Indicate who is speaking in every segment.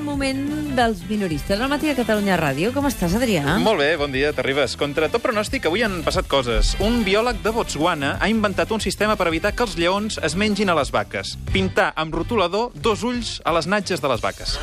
Speaker 1: moment dels minoristes. La matí a Catalunya Ràdio. Com estàs, Adrià?
Speaker 2: Molt bé, bon dia, t'arribes. Contra tot pronòstic, avui han passat coses. Un biòleg de Botswana ha inventat un sistema per evitar que els lleons es mengin a les vaques. Pintar amb rotulador dos ulls a les natges de les vaques.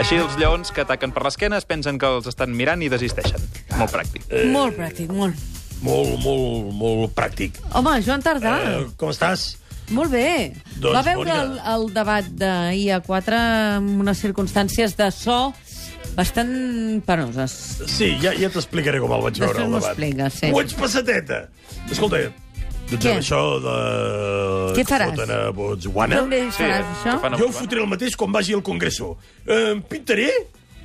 Speaker 2: Així els lleons que ataquen per l'esquena es pensen que els estan mirant i desisteixen. Molt pràctic.
Speaker 1: Eh... Molt pràctic, molt.
Speaker 3: Molt, molt, molt pràctic.
Speaker 1: Home, Joan Tardà,
Speaker 3: Eh, com estàs?
Speaker 1: molt bé.
Speaker 3: doncs,
Speaker 1: Va veure
Speaker 3: Mònica.
Speaker 1: el, el debat d'ahir a 4 amb unes circumstàncies de so bastant penoses.
Speaker 3: Sí, ja, ja t'explicaré com el vaig
Speaker 1: Després
Speaker 3: veure, el
Speaker 1: m'ho
Speaker 3: debat.
Speaker 1: expliques, sí.
Speaker 3: Ho ets passateta. Escolta, doncs
Speaker 1: Què?
Speaker 3: amb això de...
Speaker 1: Què
Speaker 3: que
Speaker 1: faràs?
Speaker 3: Foten a Botswana.
Speaker 1: No li faràs
Speaker 2: eh, que
Speaker 1: això?
Speaker 2: fan avui,
Speaker 3: Jo ho fotré el mateix quan vagi al Congreso. Eh, em pintaré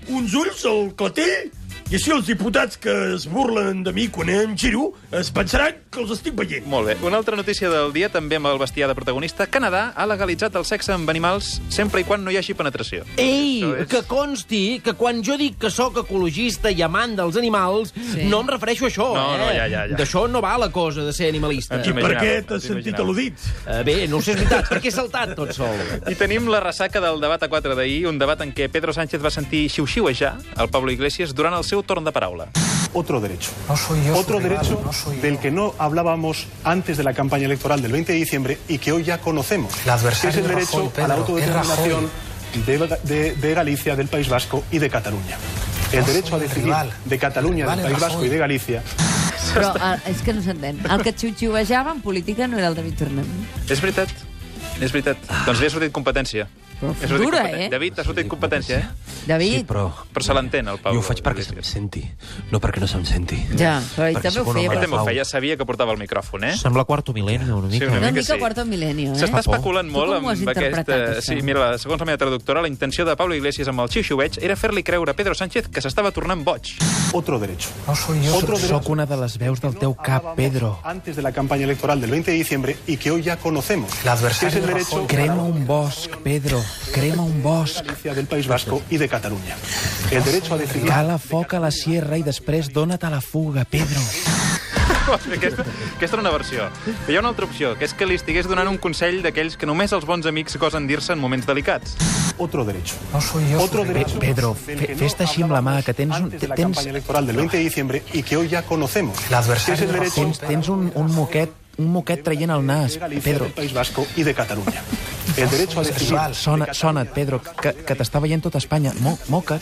Speaker 3: uns ulls al clatell i així els diputats que es burlen de mi quan em giro es pensaran que els estic veient.
Speaker 2: Molt bé. Una altra notícia del dia, també amb el bestiar de protagonista. Canadà ha legalitzat el sexe amb animals sempre i quan no hi hagi penetració.
Speaker 4: Ei,
Speaker 2: Això és-
Speaker 4: que consti que quan jo dic que sóc ecologista i amant dels animals,
Speaker 1: Sí.
Speaker 4: sí. no em refereixo a això,
Speaker 2: No,
Speaker 4: eh?
Speaker 2: no, ja, ja, ja.
Speaker 4: D'això no va la cosa de ser animalista.
Speaker 2: Aquí-
Speaker 3: I per què
Speaker 2: Imaginava,
Speaker 3: t'has sentit
Speaker 2: imaginava.
Speaker 3: al·ludit?
Speaker 4: Eh, Bé, no ho sé, és veritat, perquè he saltat tot sol.
Speaker 2: I tenim la ressaca del debat a 4 d'ahir, un debat en què Pedro Sánchez va sentir xiu-xiuejar el Pablo Iglesias durant el seu torn de paraula.
Speaker 5: otro derecho.
Speaker 6: No soy yo,
Speaker 5: otro
Speaker 6: su rival,
Speaker 5: derecho
Speaker 6: no soy yo.
Speaker 5: del que no hablábamos antes de la campaña electoral del 20 de diciembre y que hoy ya conocemos.
Speaker 6: El
Speaker 5: que
Speaker 6: adversario
Speaker 5: es el
Speaker 6: de
Speaker 5: derecho
Speaker 6: Rajoy,
Speaker 5: a la
Speaker 6: Pedro,
Speaker 5: autodeterminación de, de- de Galicia, del País Vasco y de Cataluña. El
Speaker 6: No
Speaker 5: derecho
Speaker 6: soy
Speaker 5: a
Speaker 6: el
Speaker 5: decidir
Speaker 6: rival.
Speaker 5: de Cataluña,
Speaker 6: El rival
Speaker 5: del
Speaker 6: es
Speaker 5: País Vasco
Speaker 6: Rajoy.
Speaker 5: y de Galicia
Speaker 1: Però eh, és que no s'entén. El que xiu-xiuejava en política no era el David Tornem.
Speaker 2: És veritat. És veritat. Doncs li ha sortit competència.
Speaker 1: Però
Speaker 2: Li ha sortit
Speaker 1: Ah. dura,
Speaker 2: competència.
Speaker 1: eh?
Speaker 2: David, t'ha sortit competència, eh?
Speaker 1: David,
Speaker 7: Sí, però...
Speaker 2: Però se l'entén, el Pablo.
Speaker 7: Jo ho faig perquè se'm senti, no perquè no se'm senti.
Speaker 1: Ja, però ell
Speaker 7: Perquè
Speaker 1: també ho
Speaker 7: sóc
Speaker 1: feia,
Speaker 7: un home
Speaker 2: Ell
Speaker 1: però-
Speaker 7: de
Speaker 2: també ho
Speaker 7: pau.
Speaker 2: feia, sabia que portava el micròfon, eh?
Speaker 7: Sembla quarto mil·lenni, una mica.
Speaker 2: una
Speaker 1: una
Speaker 2: mica
Speaker 1: mica
Speaker 2: sí.
Speaker 1: quarto milenio, eh?
Speaker 2: S'està
Speaker 7: Fa por.
Speaker 2: especulant
Speaker 1: Tu
Speaker 2: molt
Speaker 1: com ho
Speaker 2: amb
Speaker 1: has interpretat,
Speaker 2: aquesta...
Speaker 1: això?
Speaker 2: Sí, mira, segons la meva traductora, la intenció de Pablo Iglesias amb el xiu-xiueig era fer-li creure a Pedro Sánchez que s'estava tornant boig.
Speaker 5: otro derecho.
Speaker 6: No soy yo,
Speaker 5: Otro
Speaker 6: su-
Speaker 5: derecho
Speaker 6: sóc una de les veus del teu cap,
Speaker 5: hablábamos
Speaker 6: Pedro.
Speaker 5: Antes de la campaña electoral del 20 de diciembre y que hoy ya conocemos.
Speaker 6: El
Speaker 5: que es
Speaker 6: adversario
Speaker 5: el
Speaker 6: de
Speaker 5: derecho
Speaker 6: Rajoy.
Speaker 5: a la
Speaker 6: Crema un bosc, Pedro. Crema un bosc.
Speaker 5: Galicia, del País Vasco y de Cataluña. El derecho a decidir
Speaker 6: Cala foc a la sierra i després dona-te la fuga, Pedro.
Speaker 2: aquesta, aquesta era una versió. Però hi ha una altra opció, que és que li estigués donant un consell d'aquells que només els bons amics gosen dir-se en moments delicats.
Speaker 5: otro derecho.
Speaker 6: No soy yo,
Speaker 5: Otro
Speaker 6: su
Speaker 5: derecho
Speaker 6: rival. Pedro,
Speaker 5: del
Speaker 6: fe-
Speaker 5: que no
Speaker 6: fes-te així amb la mà, que tens un...
Speaker 5: antes de la
Speaker 6: Tens,
Speaker 5: campaña electoral del 20 de diciembre y que hoy ya conocemos. Que
Speaker 6: l'adversari
Speaker 5: es el
Speaker 6: de
Speaker 5: derecho
Speaker 6: Rajoy, tens un, un moquet, un moquet traient el nas,
Speaker 5: de Galicia,
Speaker 6: Pedro.
Speaker 5: del País Vasco y de Cataluña. El derecho a decidir.
Speaker 6: Rival, Sona, sona't, Pedro, que, que t'està veient tot Espanya. Mo, moca't.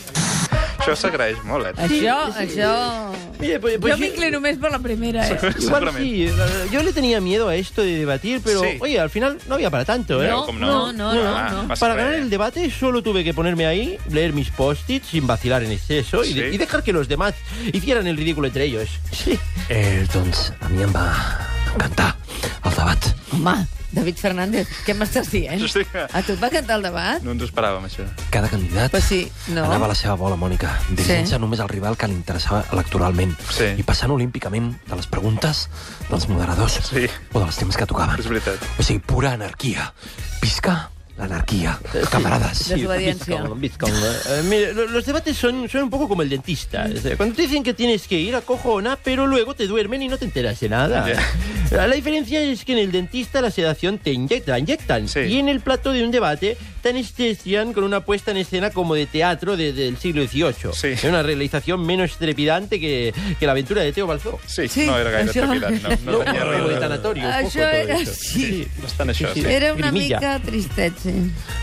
Speaker 2: Això s'agraeix molt, eh?
Speaker 1: Això, això...
Speaker 4: Oye, pues- pues
Speaker 1: jo
Speaker 4: yo-
Speaker 1: m'inclino més per la primera, eh?
Speaker 4: Igual
Speaker 2: Segurament.
Speaker 4: sí, eh, yo le tenía miedo a esto de debatir, pero
Speaker 2: Sí.
Speaker 4: oye, al final no había para tanto, ¿eh?
Speaker 1: No,
Speaker 2: com
Speaker 1: no,
Speaker 2: no.
Speaker 1: no, no,
Speaker 2: Ah,
Speaker 1: no.
Speaker 2: passa
Speaker 4: Para
Speaker 2: res.
Speaker 4: ganar el debate solo tuve que ponerme ahí, leer mis post-its sin vacilar en exceso y, de-
Speaker 2: Sí.
Speaker 4: y dejar que los demás hicieran el ridículo entre ellos. Sí.
Speaker 7: Eh, doncs, a mi em va encantar el debat.
Speaker 1: Home, David Fernández, què m'estàs dient?
Speaker 2: Hosti, que-
Speaker 1: A tu et va cantar el debat?
Speaker 2: No ens ho esperàvem, això.
Speaker 7: Cada candidat
Speaker 1: Pues sí, no.
Speaker 7: anava a la seva bola, Mònica, dirigint-se
Speaker 1: Sí.
Speaker 7: sí. només al rival que li interessava electoralment
Speaker 2: Sí.
Speaker 7: i passant olímpicament de les preguntes dels moderadors
Speaker 2: Sí.
Speaker 7: o dels temps que tocaven.
Speaker 2: És veritat.
Speaker 7: O sigui, pura anarquia. Visca l'anarquía, camarades.
Speaker 1: Sí. Desobediencia.
Speaker 4: Bitcoin, Bitcoin. Eh, mira, lo- los debates son, son un poco como el
Speaker 2: Mm.
Speaker 4: dentista. Es decir, Cuando te dicen que tienes que ir a cojona, pero luego te duermen y no te enteras de nada. La diferencia es que en el dentista la sedación te inyecta, la inyectan.
Speaker 2: Sí.
Speaker 4: Y en el plato de un debate te anestesian con una puesta en escena como de teatro de- del siglo XVIII.
Speaker 2: Sí.
Speaker 4: Es una realización menos trepidante que, que la aventura de Teo Balzó.
Speaker 2: Sí,
Speaker 1: Sí,
Speaker 2: no era gaire
Speaker 1: això-
Speaker 2: trepidant. No, no
Speaker 4: Como
Speaker 2: tenia
Speaker 4: de
Speaker 2: res. de-
Speaker 4: tanatorio, un poco
Speaker 1: Això
Speaker 4: todo
Speaker 1: Ah, era
Speaker 4: eso.
Speaker 1: així.
Speaker 2: Bastant això, sí.
Speaker 1: Era una
Speaker 4: Grimilla.
Speaker 1: mica tristet, sí.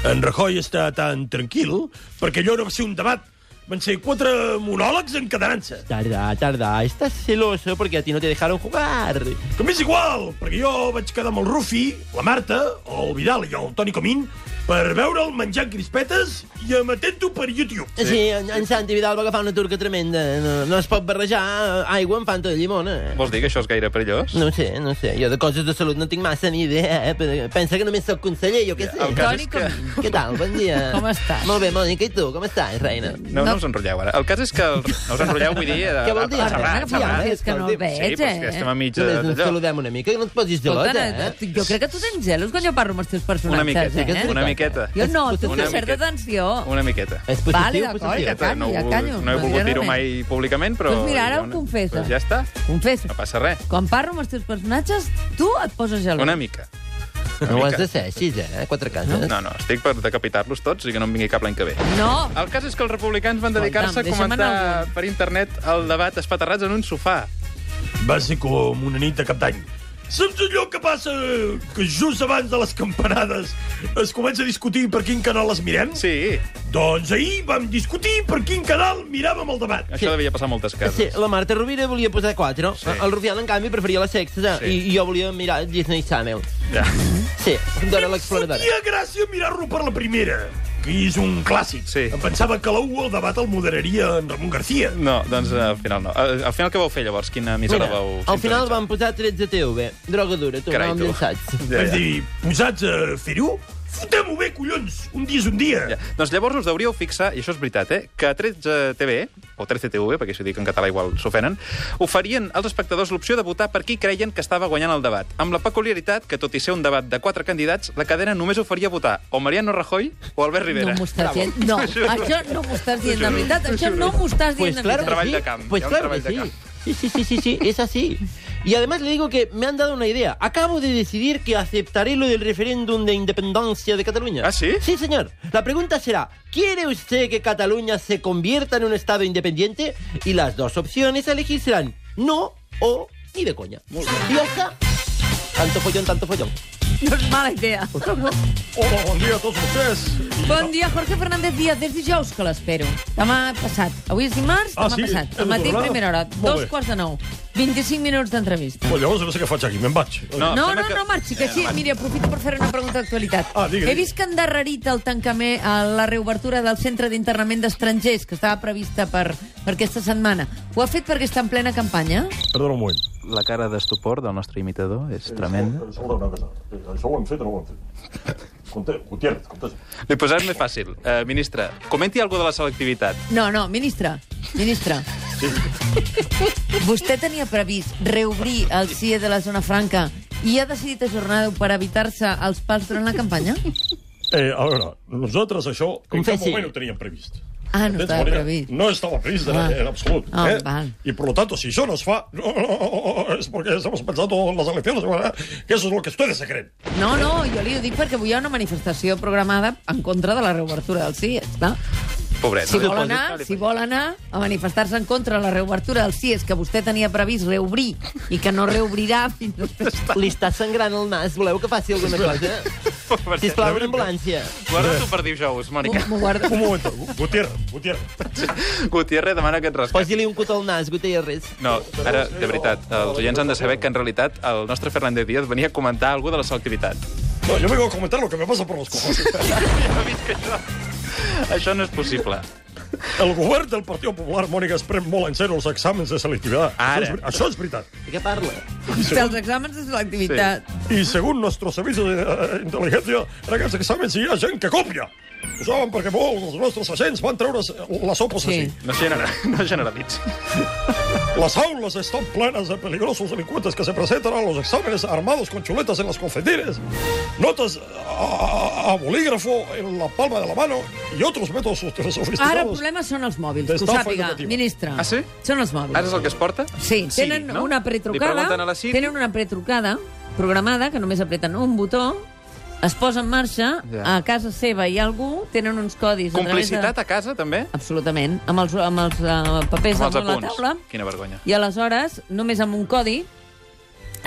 Speaker 3: En Rajoy està tan tranquil perquè allò no va ser un debat. Van ser quatre monòlegs encadenant-se.
Speaker 4: Tarda, tarda. Estás celoso porque a ti no te dejaron jugar.
Speaker 3: Que m'és igual, perquè jo vaig quedar amb el Rufi, la Marta, el Vidal i el Toni Comín per veure'l menjant crispetes i amatent-ho per YouTube.
Speaker 4: Sí, en, en Santi Vidal va agafar una turca tremenda. eh? No, no es pot barrejar eh, aigua amb fanta de llimona.
Speaker 2: Vols dir que això és gaire perillós?
Speaker 4: No ho sé, no ho sé. Jo de coses de salut no tinc massa ni idea, eh? però Pensa que només sóc conseller, jo què sé.
Speaker 2: El cas
Speaker 1: Toni
Speaker 2: és que...
Speaker 4: Què tal? Bon dia.
Speaker 1: Com estàs?
Speaker 4: Molt bé, Mònica, i tu? Com estàs, reina?
Speaker 2: No, no us enrotlleu, ara. El cas és que... El... No us enrotlleu, vull dir...
Speaker 4: Què vol dir?
Speaker 2: a- a- a-
Speaker 4: Perdona,
Speaker 2: xerrar,
Speaker 4: que fa
Speaker 2: xerrar.
Speaker 4: hores
Speaker 1: És que no el
Speaker 2: Sí,
Speaker 1: veig,
Speaker 2: però és que estem a
Speaker 1: eh?
Speaker 2: mitja...
Speaker 4: Només ens
Speaker 2: d'allò.
Speaker 4: saludem una mica, que no et posis
Speaker 1: Escolta,
Speaker 4: gelota,
Speaker 1: no,
Speaker 4: eh?
Speaker 1: jo crec que tu tens gelos quan jo parlo amb els teus personatges,
Speaker 2: Una miqueta,
Speaker 1: eh?
Speaker 2: una miqueta.
Speaker 1: Jo no, tu
Speaker 2: Una
Speaker 1: una certa
Speaker 2: miqueta.
Speaker 1: tensió.
Speaker 2: Una miqueta.
Speaker 4: És
Speaker 1: Vale,
Speaker 4: positiu,
Speaker 1: d'acord,
Speaker 4: positiu.
Speaker 1: ja callo,
Speaker 2: no,
Speaker 1: ja
Speaker 2: ho-
Speaker 1: callo.
Speaker 2: no he volgut dir-ho
Speaker 1: Sincerament.
Speaker 2: mai públicament, però...
Speaker 1: Doncs mira, ara ho
Speaker 2: Doncs
Speaker 1: confesso.
Speaker 2: Ja està,
Speaker 1: Confesso.
Speaker 2: no passa res.
Speaker 1: Quan parlo amb els teus personatges, tu et poses gelós.
Speaker 2: Una mica.
Speaker 4: No ho has de ser així, ja, eh? Quatre cançons.
Speaker 2: No, no, estic per decapitar-los tots i que no em vingui cap l'any que ve.
Speaker 1: No!
Speaker 2: El cas és que els republicans van dedicar-se a
Speaker 1: Escolta'm, deixa'm anar
Speaker 2: comentar
Speaker 1: algun.
Speaker 2: per internet el debat espaterrats en un sofà.
Speaker 3: Va ser com una nit de cap d'any. Saps allò que passa que just abans de les campanades es comença a discutir per quin canal les mirem?
Speaker 2: Sí,
Speaker 3: Doncs ahir vam discutir per quin canal miràvem el debat.
Speaker 2: això devia passar a moltes
Speaker 4: Sí,
Speaker 2: cases.
Speaker 4: la Marta Rovira volia posar 4. Sí. El Rufián, en canvi, preferia la sexta.
Speaker 2: Sí.
Speaker 4: Sí. I, I jo volia mirar Disney Channel.
Speaker 2: Ja.
Speaker 4: Sí, dona l'exploradora.
Speaker 3: Fotia gràcia mirar-lo per la primera, que és un clàssic.
Speaker 2: Sí.
Speaker 3: Em pensava que la U el debat el moderaria en Ramon García.
Speaker 2: No, doncs eh, al final no. Eh, Al final què vau fer, llavors? Quina emissora
Speaker 4: Mira,
Speaker 2: vau
Speaker 4: al final
Speaker 2: sintonitzar?
Speaker 4: van posar 13 TV. Droga dura, tu,
Speaker 2: Carai,
Speaker 4: no em
Speaker 2: tu.
Speaker 4: llençats.
Speaker 2: Ja,
Speaker 3: Vaig
Speaker 2: ja.
Speaker 3: dir, posats a fer-ho, fotem-ho bé, collons, un dia és un dia.
Speaker 2: Ja. Doncs llavors us hauríeu fixar, i això és veritat, eh, que a 13 TV, o 13 TV, perquè si ho dic en català igual s'ofenen, oferien als espectadors l'opció de votar per qui creien que estava guanyant el debat, amb la peculiaritat que, tot i ser un debat de quatre candidats, la cadena només oferia votar o Mariano Rajoy o Albert Rivera.
Speaker 1: No m'ho estàs dient. No, això no m'ho estàs dient de veritat. Això no m'ho estàs
Speaker 4: Pues
Speaker 1: dient de
Speaker 4: claro
Speaker 2: Un
Speaker 1: veritat.
Speaker 2: treball
Speaker 4: que sí.
Speaker 2: de camp,
Speaker 4: Pues
Speaker 2: hi ha un
Speaker 4: claro
Speaker 2: treball
Speaker 4: que
Speaker 2: de
Speaker 4: sí.
Speaker 2: camp.
Speaker 4: Sí, sí, sí, sí, sí, es así. Y además le digo que me han dado una idea. Acabo de decidir que aceptaré lo del referéndum de independencia de Cataluña.
Speaker 2: ¿Ah, sí?
Speaker 4: Sí, señor. La pregunta será, ¿quiere usted que Cataluña se convierta en un estado independiente? Y las dos opciones a elegir serán no o ni de coña. Y ya está. Tanto follón, tanto follón.
Speaker 1: No és Doncs mala idea.
Speaker 3: Hola, bon dia a tots vostès.
Speaker 1: Bon dia, Jorge Fernández Díaz. Des dijous que l'espero. Demà passat. Avui és dimarts,
Speaker 3: Ah,
Speaker 1: demà
Speaker 3: sí?
Speaker 1: passat.
Speaker 3: Hem
Speaker 1: Al
Speaker 3: de
Speaker 1: matí,
Speaker 3: tornar?
Speaker 1: primera hora.
Speaker 3: Molt
Speaker 1: Dos
Speaker 3: bé.
Speaker 1: quarts de nou. 25 minuts d'entrevista.
Speaker 3: Pues llavors no sé què faig aquí, me'n vaig.
Speaker 2: No,
Speaker 1: No,
Speaker 2: sembla
Speaker 1: no,
Speaker 2: que-
Speaker 1: no, marxi, que així... Mira, aprofito per fer una pregunta d'actualitat.
Speaker 3: Eh, Ah, digue,
Speaker 1: He
Speaker 3: digue.
Speaker 1: vist que han darrerit el tancament, a la reobertura del centre d'internament d'estrangers, que estava prevista per, per aquesta setmana. Ho ha fet perquè està en plena campanya?
Speaker 3: Perdona un moment.
Speaker 2: La cara d'estupor del nostre imitador és tremenda.
Speaker 3: Escolta una cosa, això ho hem fet o no ho hem fet? Gutiérrez, contesta.
Speaker 2: Li posarem més fàcil. Eh, ministre, comenti alguna de la selectivitat.
Speaker 1: No, no, ministre, ministre. Vostè tenia previst reobrir el CIE de la Zona Franca i ha decidit ajornar-ho per evitar-se els pals durant la campanya?
Speaker 3: Eh, a veure, nosaltres això en cap
Speaker 4: Confessi.
Speaker 3: moment ho teníem previst.
Speaker 1: Ah, no
Speaker 3: Entens,
Speaker 1: estava
Speaker 3: Marina?
Speaker 1: previst.
Speaker 3: No estava previst en,
Speaker 1: Ah.
Speaker 3: en absolut.
Speaker 1: Ah,
Speaker 3: eh?
Speaker 1: val.
Speaker 3: Y por lo tanto, si eso nos fa... No, no, no, no, es porque estamos pensando en las elecciones, ¿verdad? que eso es lo que ustedes se creen.
Speaker 1: No, no, jo li ho dic perquè avui hi ha una manifestació programada en contra de la reobertura del CIE, clar.
Speaker 2: Pobret.
Speaker 1: Si
Speaker 2: no?
Speaker 1: vol anar, si vol anar a manifestar-se en contra de la reobertura del CIES que vostè tenia previst reobrir i que no reobrirà fins després.
Speaker 4: Li està sangrant el nas, voleu que faci alguna cosa?
Speaker 2: Pobret.
Speaker 4: Sisplau, una ambulància.
Speaker 2: Guarda-t'ho per dijous, Mònica.
Speaker 1: M'ho guardo.
Speaker 3: Un momento, Gu- Gutiérrez, Gutiérrez.
Speaker 2: Gutiérrez demana que et rescat.
Speaker 4: Posi-li un cotó al nas, Gutiérrez.
Speaker 2: No, ara, de veritat, els oients han de saber que en realitat el nostre Fernández Díaz venia a comentar alguna de la selectivitat.
Speaker 3: No, yo vengo a comentar lo que me pasa por los cojones.
Speaker 2: Això no és possible.
Speaker 3: El govern del Partit Popular, Mònica, es pren molt en sèrio els exàmens de selectivitat.
Speaker 2: Ara.
Speaker 3: Això és, ver- això és veritat.
Speaker 4: De què parla?
Speaker 1: Dels exàmens de selectivitat.
Speaker 3: I segons nostres servicis d'intel·ligència, eh, en aquests exàmens hi ha gent que copia. Ho saben perquè molts dels nostres agents van treure les sopes
Speaker 1: Sí.
Speaker 3: sí. així.
Speaker 2: No, genera, no generalitz.
Speaker 3: Las aulas están plenas de peligrosos delincuentes que se presentan a los exámenes armados con chuletas en las confetines, notas a, a bolígrafo en la palma de la mano y otros métodos sofisticados.
Speaker 1: Ara el problema són els mòbils, que ho
Speaker 3: D'estafa
Speaker 1: sàpiga,
Speaker 3: educativa.
Speaker 1: ministre.
Speaker 2: Ah, sí?
Speaker 1: Són els mòbils.
Speaker 2: Ara és el que es porta?
Speaker 1: Sí,
Speaker 2: Sí,
Speaker 1: tenen
Speaker 2: no?
Speaker 1: una
Speaker 2: Li
Speaker 1: pretrucada,
Speaker 2: pregunten a la Siri.
Speaker 1: tenen una pretrucada programada, que només apreten un botó, es posa en marxa, a
Speaker 2: Ja.
Speaker 1: casa seva hi ha algú, tenen uns codis... a través
Speaker 2: Complicitat a casa, també?
Speaker 1: Absolutament, amb els, amb els eh, papers
Speaker 2: Amb els
Speaker 1: damunt la
Speaker 2: apunts.
Speaker 1: taula.
Speaker 2: Quina vergonya.
Speaker 1: I aleshores, només amb un codi,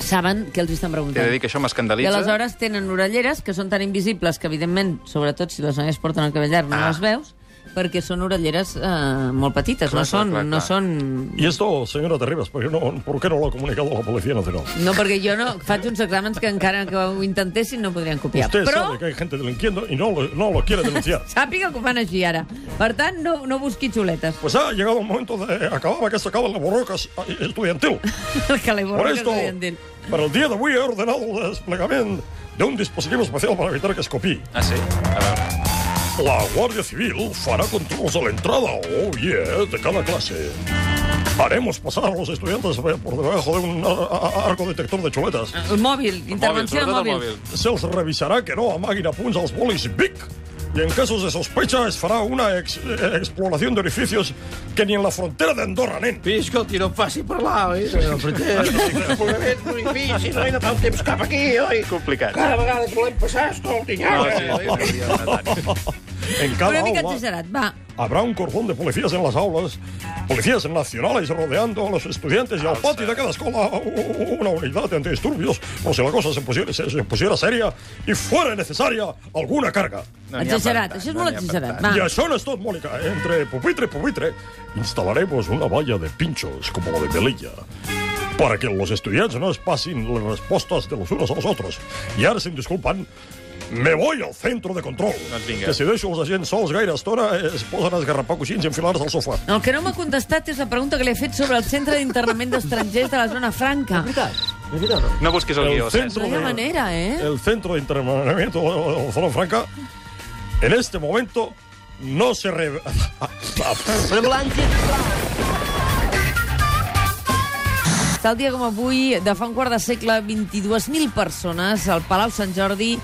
Speaker 1: saben què els estan
Speaker 2: T'he de
Speaker 1: preguntant.
Speaker 2: dir que això
Speaker 1: I
Speaker 2: m'escandalitza.
Speaker 1: aleshores tenen orelleres que són tan invisibles que, evidentment, sobretot si les noies porten el cabell llarg, no
Speaker 2: Ah.
Speaker 1: les veus, perquè són orelleres eh, molt petites,
Speaker 2: Clar,
Speaker 1: no, són,
Speaker 2: clar, clar,
Speaker 1: no
Speaker 2: clar.
Speaker 1: són...
Speaker 3: Y esto, señora Terribas, ¿por qué, no, ¿por qué no lo ha comunicado la Policía Nacional?
Speaker 1: No, perquè jo no faig uns exàmens que encara que ho intentessin no podrien copiar.
Speaker 3: Usted
Speaker 1: Però
Speaker 3: sabe que hay gente delinquiendo y no lo, no lo quiere denunciar.
Speaker 1: sàpiga que ho fan així ara. Per tant, no, no busqui xuletes.
Speaker 3: Pues ha llegado el momento de acabar que se acaben las borrocas eh, estudiantil.
Speaker 1: que li
Speaker 3: Por
Speaker 1: borra
Speaker 3: esto, para el día de hoy he ordenado el desplegamiento de un dispositivo especial para evitar que escopí.
Speaker 2: Ah, sí? A veure.
Speaker 3: La Guardia Civil fará controles a la entrada, oh yeah, de cada clase. Haremos pasar a los estudiantes por debajo de un ar- ar- arco detector de chuletas.
Speaker 1: El mòbil,
Speaker 2: El mòbil,
Speaker 1: intervenció
Speaker 2: sobretot
Speaker 1: del
Speaker 2: el
Speaker 1: mòbil.
Speaker 2: mòbil.
Speaker 3: Se els revisará que no amaguen a punts als bolis BIC y en casos de sospecha es fará una ex- eh, exploración de orificios que ni en la frontera de Andorra nen.
Speaker 4: Però escolti, no em faci parlar, oi? No, el programa és molt difícil, oi? No cal temps cap aquí, oi?
Speaker 2: Complicat.
Speaker 4: Cada vegada ens volem passar, escolti, ja.
Speaker 2: No, sí, sí, sí, sí, no tant.
Speaker 3: En cada
Speaker 1: Una mica
Speaker 3: aula
Speaker 1: exagerat, va.
Speaker 3: habrá un cordón de policías en las aulas, policías nacionales rodeando a los estudiantes y al patio de cada escuela u- u- una unidad de antidisturbios, por si la cosa se pusiera, se- se pusiera seria y fuera necesaria alguna carga.
Speaker 2: No n'hi ha
Speaker 1: exagerat,
Speaker 2: per tant,
Speaker 1: això és
Speaker 2: no
Speaker 1: molt
Speaker 2: n'hi ha per
Speaker 1: exagerat.
Speaker 2: tant.
Speaker 1: Va.
Speaker 3: Y això no es tot, Mónica. Entre pupitre y pupitre instalaremos una valla de pinchos como la de Melilla para que los estudiantes no pasen las respuestas de los unos a los otros. Y ahora, si em disculpen, me voy al centro de control.
Speaker 2: Doncs vinga.
Speaker 3: que si deixo els agents sols gaire estona, eh, es posen a esgarrapar coixins i enfilar-se al sofà.
Speaker 1: El que no m'ha contestat és la pregunta que li he fet sobre el centre d'internament d'estrangers de la zona franca.
Speaker 2: No busquis el guió, Cesc.
Speaker 1: No hi ha manera, eh?
Speaker 3: el centro de internamiento de Zona Franca, en este momento no se... Re...
Speaker 4: Però Blanche...
Speaker 1: Tal dia com avui, de fa un quart de segle, 22.000 persones al Palau Sant Jordi,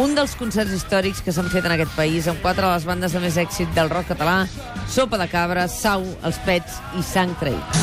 Speaker 1: un dels concerts històrics que s'han fet en aquest país, amb quatre de les bandes de més èxit del rock català, Sopa de Cabra, Sau, Els Pets i Sang Traït.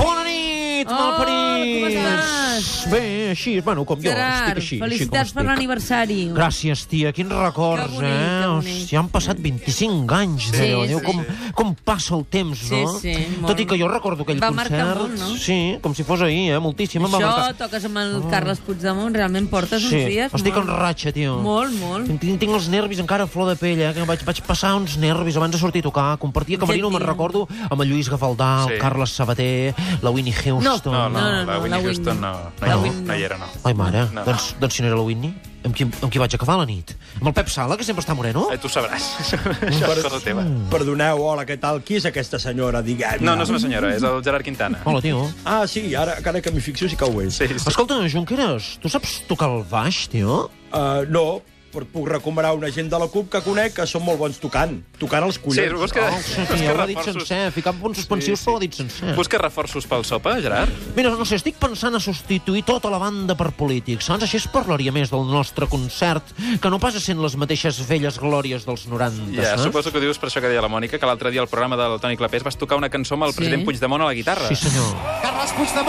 Speaker 4: Bona nit,
Speaker 1: Hola, Oh, com
Speaker 4: malparits!
Speaker 1: estàs?
Speaker 4: Bé, així, bueno, com jo, estic
Speaker 1: Gerard,
Speaker 4: així.
Speaker 1: felicitats per
Speaker 4: així com estic.
Speaker 1: l'aniversari.
Speaker 4: Gràcies, tia, quins records,
Speaker 1: Que bonic,
Speaker 4: eh?
Speaker 1: que bonic.
Speaker 4: Hòstia, han passat 25 anys
Speaker 1: Sí,
Speaker 4: d'allò.
Speaker 1: sí,
Speaker 4: Déu, com, com passa el temps,
Speaker 1: Sí,
Speaker 4: no?
Speaker 1: sí, molt.
Speaker 4: Tot i que jo recordo aquell
Speaker 1: Va
Speaker 4: concert...
Speaker 1: marcar molt, no?
Speaker 4: Sí, com si fos ahir, eh? Moltíssim. em va
Speaker 1: Això,
Speaker 4: marcar.
Speaker 1: toques amb el Carles Puigdemont, realment portes
Speaker 4: Sí,
Speaker 1: uns dies...
Speaker 4: estic
Speaker 1: molt-
Speaker 4: en ratxa, tio.
Speaker 1: Molt, molt.
Speaker 4: Tinc, tinc els nervis encara a flor de pell, eh? Que vaig, vaig passar uns nervis abans de sortir a tocar. Compartia camerino, me'n
Speaker 1: tio.
Speaker 4: recordo, amb el Lluís Gafaldà, sí.
Speaker 2: Sí.
Speaker 4: el Carles Sabater, la Winnie Houston...
Speaker 2: No,
Speaker 1: No,
Speaker 2: no,
Speaker 1: no,
Speaker 2: no, la
Speaker 1: no,
Speaker 2: Whitney
Speaker 1: la
Speaker 2: Houston no.
Speaker 1: Whitney.
Speaker 2: No,
Speaker 1: La
Speaker 2: no,
Speaker 1: Whitney.
Speaker 2: no hi era, no.
Speaker 4: Ai, mare,
Speaker 2: No.
Speaker 4: doncs, doncs si no era la Whitney, amb qui, amb qui vaig acabar la nit? Amb el Pep Sala, que sempre està moreno?
Speaker 2: Eh, tu sabràs. Això és cosa teva.
Speaker 8: Perdoneu, hola, què tal? Qui és aquesta senyora, diguem
Speaker 2: No, no és una senyora, és el Gerard Quintana.
Speaker 4: Hola, tio.
Speaker 8: Ah, sí, ara, ara que m'hi fixo sí que ho és.
Speaker 2: Sí, sí.
Speaker 4: Escolta, Junqueras, tu saps tocar el baix, tio?
Speaker 8: Uh, no, però puc recomanar una gent de la CUP que conec que són molt bons tocant. Tocant els
Speaker 4: Oh,
Speaker 2: Sí,
Speaker 8: collons.
Speaker 2: vols que,
Speaker 4: No sé,
Speaker 2: vols
Speaker 4: tio,
Speaker 2: que
Speaker 4: ho ha dit
Speaker 2: reforços...
Speaker 4: sencer. Ficant punts suspensius,
Speaker 2: Sí, sí.
Speaker 4: però ho ha dit sencer.
Speaker 2: Busques reforços pel sopa, Gerard?
Speaker 4: Mira, no sé, estic pensant a substituir tota la banda per polítics. Saps? Així es parlaria més del nostre concert, que no passa sent les mateixes velles glòries dels 90,
Speaker 2: Ja,
Speaker 4: saps?
Speaker 2: suposo que ho dius per això que deia la Mònica, que l'altre dia al programa del Toni Clapés vas tocar una cançó amb el
Speaker 1: Sí.
Speaker 2: president Puigdemont a la guitarra.
Speaker 4: Sí, senyor.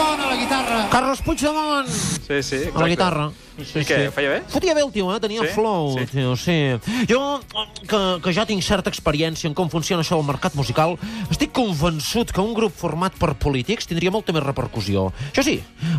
Speaker 4: Carles Puigdemont a la guitarra. Carles Puigdemont!
Speaker 2: sí, sí
Speaker 4: A la
Speaker 2: exacte.
Speaker 4: guitarra. Sí,
Speaker 2: I què, ho feia bé?
Speaker 4: Fotia bé el tio, eh? Tenia
Speaker 2: Sí?
Speaker 4: sí? flow,
Speaker 2: Sí.
Speaker 4: sí. tio, sí. Jo, que, que ja tinc certa experiència en com funciona això del mercat musical, estic convençut que un grup format per polítics tindria molta més repercussió. Això sí,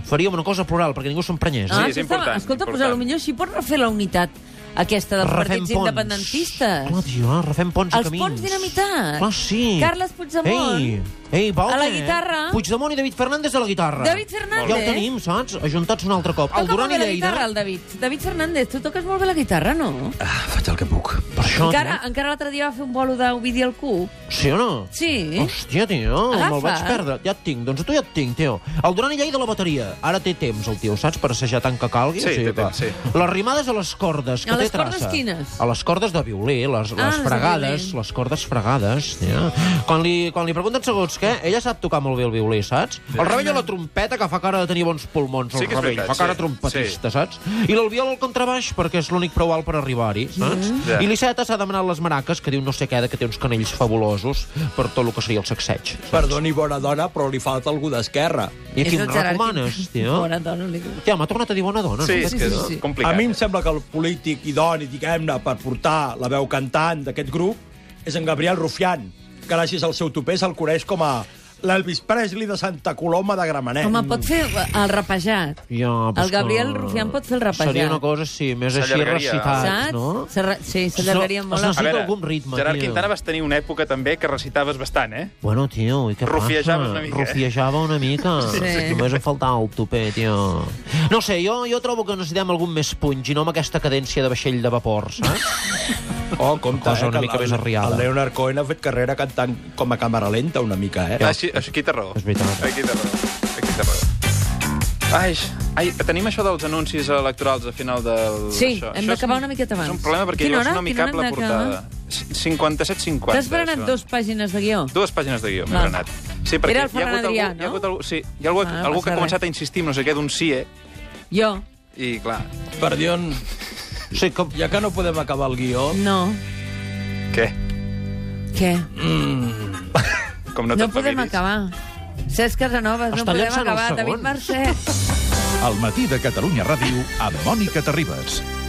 Speaker 4: faríem una cosa plural, perquè ningú s'emprenyés.
Speaker 2: Ah,
Speaker 4: Eh?
Speaker 2: és important,
Speaker 1: Escolta,
Speaker 2: important.
Speaker 1: pues, a lo millor així pots refer la unitat aquesta dels
Speaker 4: Refem
Speaker 1: partits
Speaker 4: ponts.
Speaker 1: independentistes.
Speaker 4: Clar, tio, eh? refem ponts
Speaker 1: Els
Speaker 4: i camins.
Speaker 1: ponts dinamitats.
Speaker 4: Clar, sí.
Speaker 1: Carles Puigdemont.
Speaker 4: Ei, ei, va,
Speaker 1: A la
Speaker 4: eh?
Speaker 1: guitarra.
Speaker 4: Puigdemont i David Fernández a la guitarra.
Speaker 1: David Fernández.
Speaker 4: Ja el tenim, saps? Ajuntats un altre cop.
Speaker 1: Toca
Speaker 4: El Duran
Speaker 1: molt
Speaker 4: i
Speaker 1: bé la
Speaker 4: Lleida.
Speaker 1: guitarra, el David. David Fernández, tu toques molt bé la guitarra, no?
Speaker 7: Ah, faig el que puc.
Speaker 4: Per això,
Speaker 1: Encara, encara l'altre dia va fer un bolo d'Ovidi al cub.
Speaker 4: tio. Sí o no?
Speaker 1: Sí.
Speaker 4: Hòstia, tio,
Speaker 1: Agafa.
Speaker 4: me'l vaig perdre. Ja et tinc, doncs a tu ja et tinc, tio. El Duran i Lleida a la bateria. Ara té temps, el tio, saps? Per assajar tant que calgui.
Speaker 2: Sí, té
Speaker 4: que-
Speaker 2: temps, sí.
Speaker 4: Les rimades a les cordes, que
Speaker 1: A
Speaker 4: té
Speaker 1: les cordes
Speaker 4: traça.
Speaker 1: quines?
Speaker 4: A les cordes de violí, les,
Speaker 1: Ah,
Speaker 4: les
Speaker 1: les de
Speaker 4: fregades,
Speaker 1: violí.
Speaker 4: les cordes fregades, tio. Quan li, quan li pregunten segons què, ella sap tocar molt bé el violí, saps? El rebell a la trompeta, que fa cara de tenir bons pulmons, el
Speaker 2: Sí que és
Speaker 4: rebell.
Speaker 2: veritat,
Speaker 4: fa cara
Speaker 2: sí.
Speaker 4: trompetista, saps? I l'Albiol al contrabaix, perquè és l'únic prou alt per arribar-hi, saps?
Speaker 2: Ja.
Speaker 4: I l'Iceta s'ha demanat les maracas, que diu no sé què, de que té uns canells fabulosos per tot el que seria el sacseig.
Speaker 8: Perdoni, bona dona, però li falta algú d'esquerra.
Speaker 4: I a
Speaker 1: És
Speaker 4: qui em
Speaker 1: el Gerard
Speaker 4: recomanes,
Speaker 1: Quintana.
Speaker 4: tio?
Speaker 1: Bona dona, li diu.
Speaker 4: Tia, m'ha tornat a dir bona dona,
Speaker 2: Sí,
Speaker 4: no?
Speaker 2: és que
Speaker 1: sí, sí.
Speaker 2: és
Speaker 8: A
Speaker 2: complicat.
Speaker 8: mi em sembla que el polític idoni, diguem-ne, per portar la veu cantant d'aquest grup és en Gabriel Rufián, que gràcies al seu topé se'l coneix com a l'Elvis Presley de Santa Coloma de
Speaker 3: Eh.
Speaker 8: Gramenet.
Speaker 1: Home, pot fer el rapejat.
Speaker 4: Ja, però
Speaker 1: El
Speaker 4: és que-
Speaker 1: Gabriel Rufián pot fer el rapejat.
Speaker 4: Seria una cosa, sí, més així
Speaker 2: S'allargaria. eh?
Speaker 4: recitat,
Speaker 1: Saps?
Speaker 4: no?
Speaker 1: S'arra- Sí, s'allargaria
Speaker 4: No,
Speaker 1: molt.
Speaker 4: es
Speaker 1: la-
Speaker 4: necessita- algun ritme,
Speaker 2: Gerard
Speaker 4: tio.
Speaker 2: Quintana vas tenir una època també que recitaves bastant, eh?
Speaker 4: Bueno, tio, i què
Speaker 2: Rufiejava
Speaker 4: passa?
Speaker 2: una mica, eh?
Speaker 4: Rufiejava una mica.
Speaker 1: Sí. Sí.
Speaker 4: Només em faltava el topé, tio. No sé, jo, jo trobo que necessitem algun més punx i no amb aquesta cadència de vaixell de vapor, saps?
Speaker 8: Oh, compte,
Speaker 4: Cosa
Speaker 8: eh,
Speaker 4: una
Speaker 8: que
Speaker 4: mica
Speaker 8: el-
Speaker 4: més arriada.
Speaker 8: El Leonard Cohen ha fet carrera cantant com a càmera lenta una mica, eh?
Speaker 2: Així, aquí té raó.
Speaker 4: És veritat.
Speaker 2: Aquí té raó. Aquí té raó. Ai, ai, tenim això dels anuncis electorals a final del...
Speaker 1: Sí,
Speaker 2: això.
Speaker 1: hem
Speaker 2: Això és
Speaker 1: d'acabar
Speaker 2: un-
Speaker 1: una miqueta abans.
Speaker 2: És un problema perquè
Speaker 1: Quina
Speaker 2: llavors
Speaker 1: hora?
Speaker 2: no m'hi
Speaker 1: Quina
Speaker 2: cap
Speaker 1: hora
Speaker 2: la
Speaker 1: hem
Speaker 2: portada.
Speaker 1: d'acabar?
Speaker 2: 57-50.
Speaker 1: T'has berenat
Speaker 2: això.
Speaker 1: dos pàgines de guió.
Speaker 2: Dues pàgines de guió, m'he
Speaker 1: Val.
Speaker 2: granat. Sí, perquè
Speaker 1: Era el
Speaker 2: hi ha hagut
Speaker 1: Ferran Adrià,
Speaker 2: algú, hi ha
Speaker 1: no?
Speaker 2: hagut algú, sí, hi ha algú,
Speaker 1: Ah, no
Speaker 2: algú que
Speaker 1: passa
Speaker 2: ha començat
Speaker 1: res.
Speaker 2: a insistir, amb no sé què, d'un sí, eh?
Speaker 1: Jo?
Speaker 2: I, clar,
Speaker 8: Perdion,
Speaker 4: Sí, que...
Speaker 8: ja que no podem acabar el guió,
Speaker 1: No.
Speaker 2: Què?
Speaker 1: Què?
Speaker 2: Com no,
Speaker 1: No,
Speaker 2: te'n
Speaker 1: podem
Speaker 2: familis?
Speaker 1: acabar. Cesc Casanovas, no
Speaker 4: Està
Speaker 1: podem
Speaker 4: llançant el
Speaker 1: acabar.
Speaker 4: segon.
Speaker 1: David Mercè.
Speaker 6: Al matí de Catalunya Ràdio amb Mònica Terribas.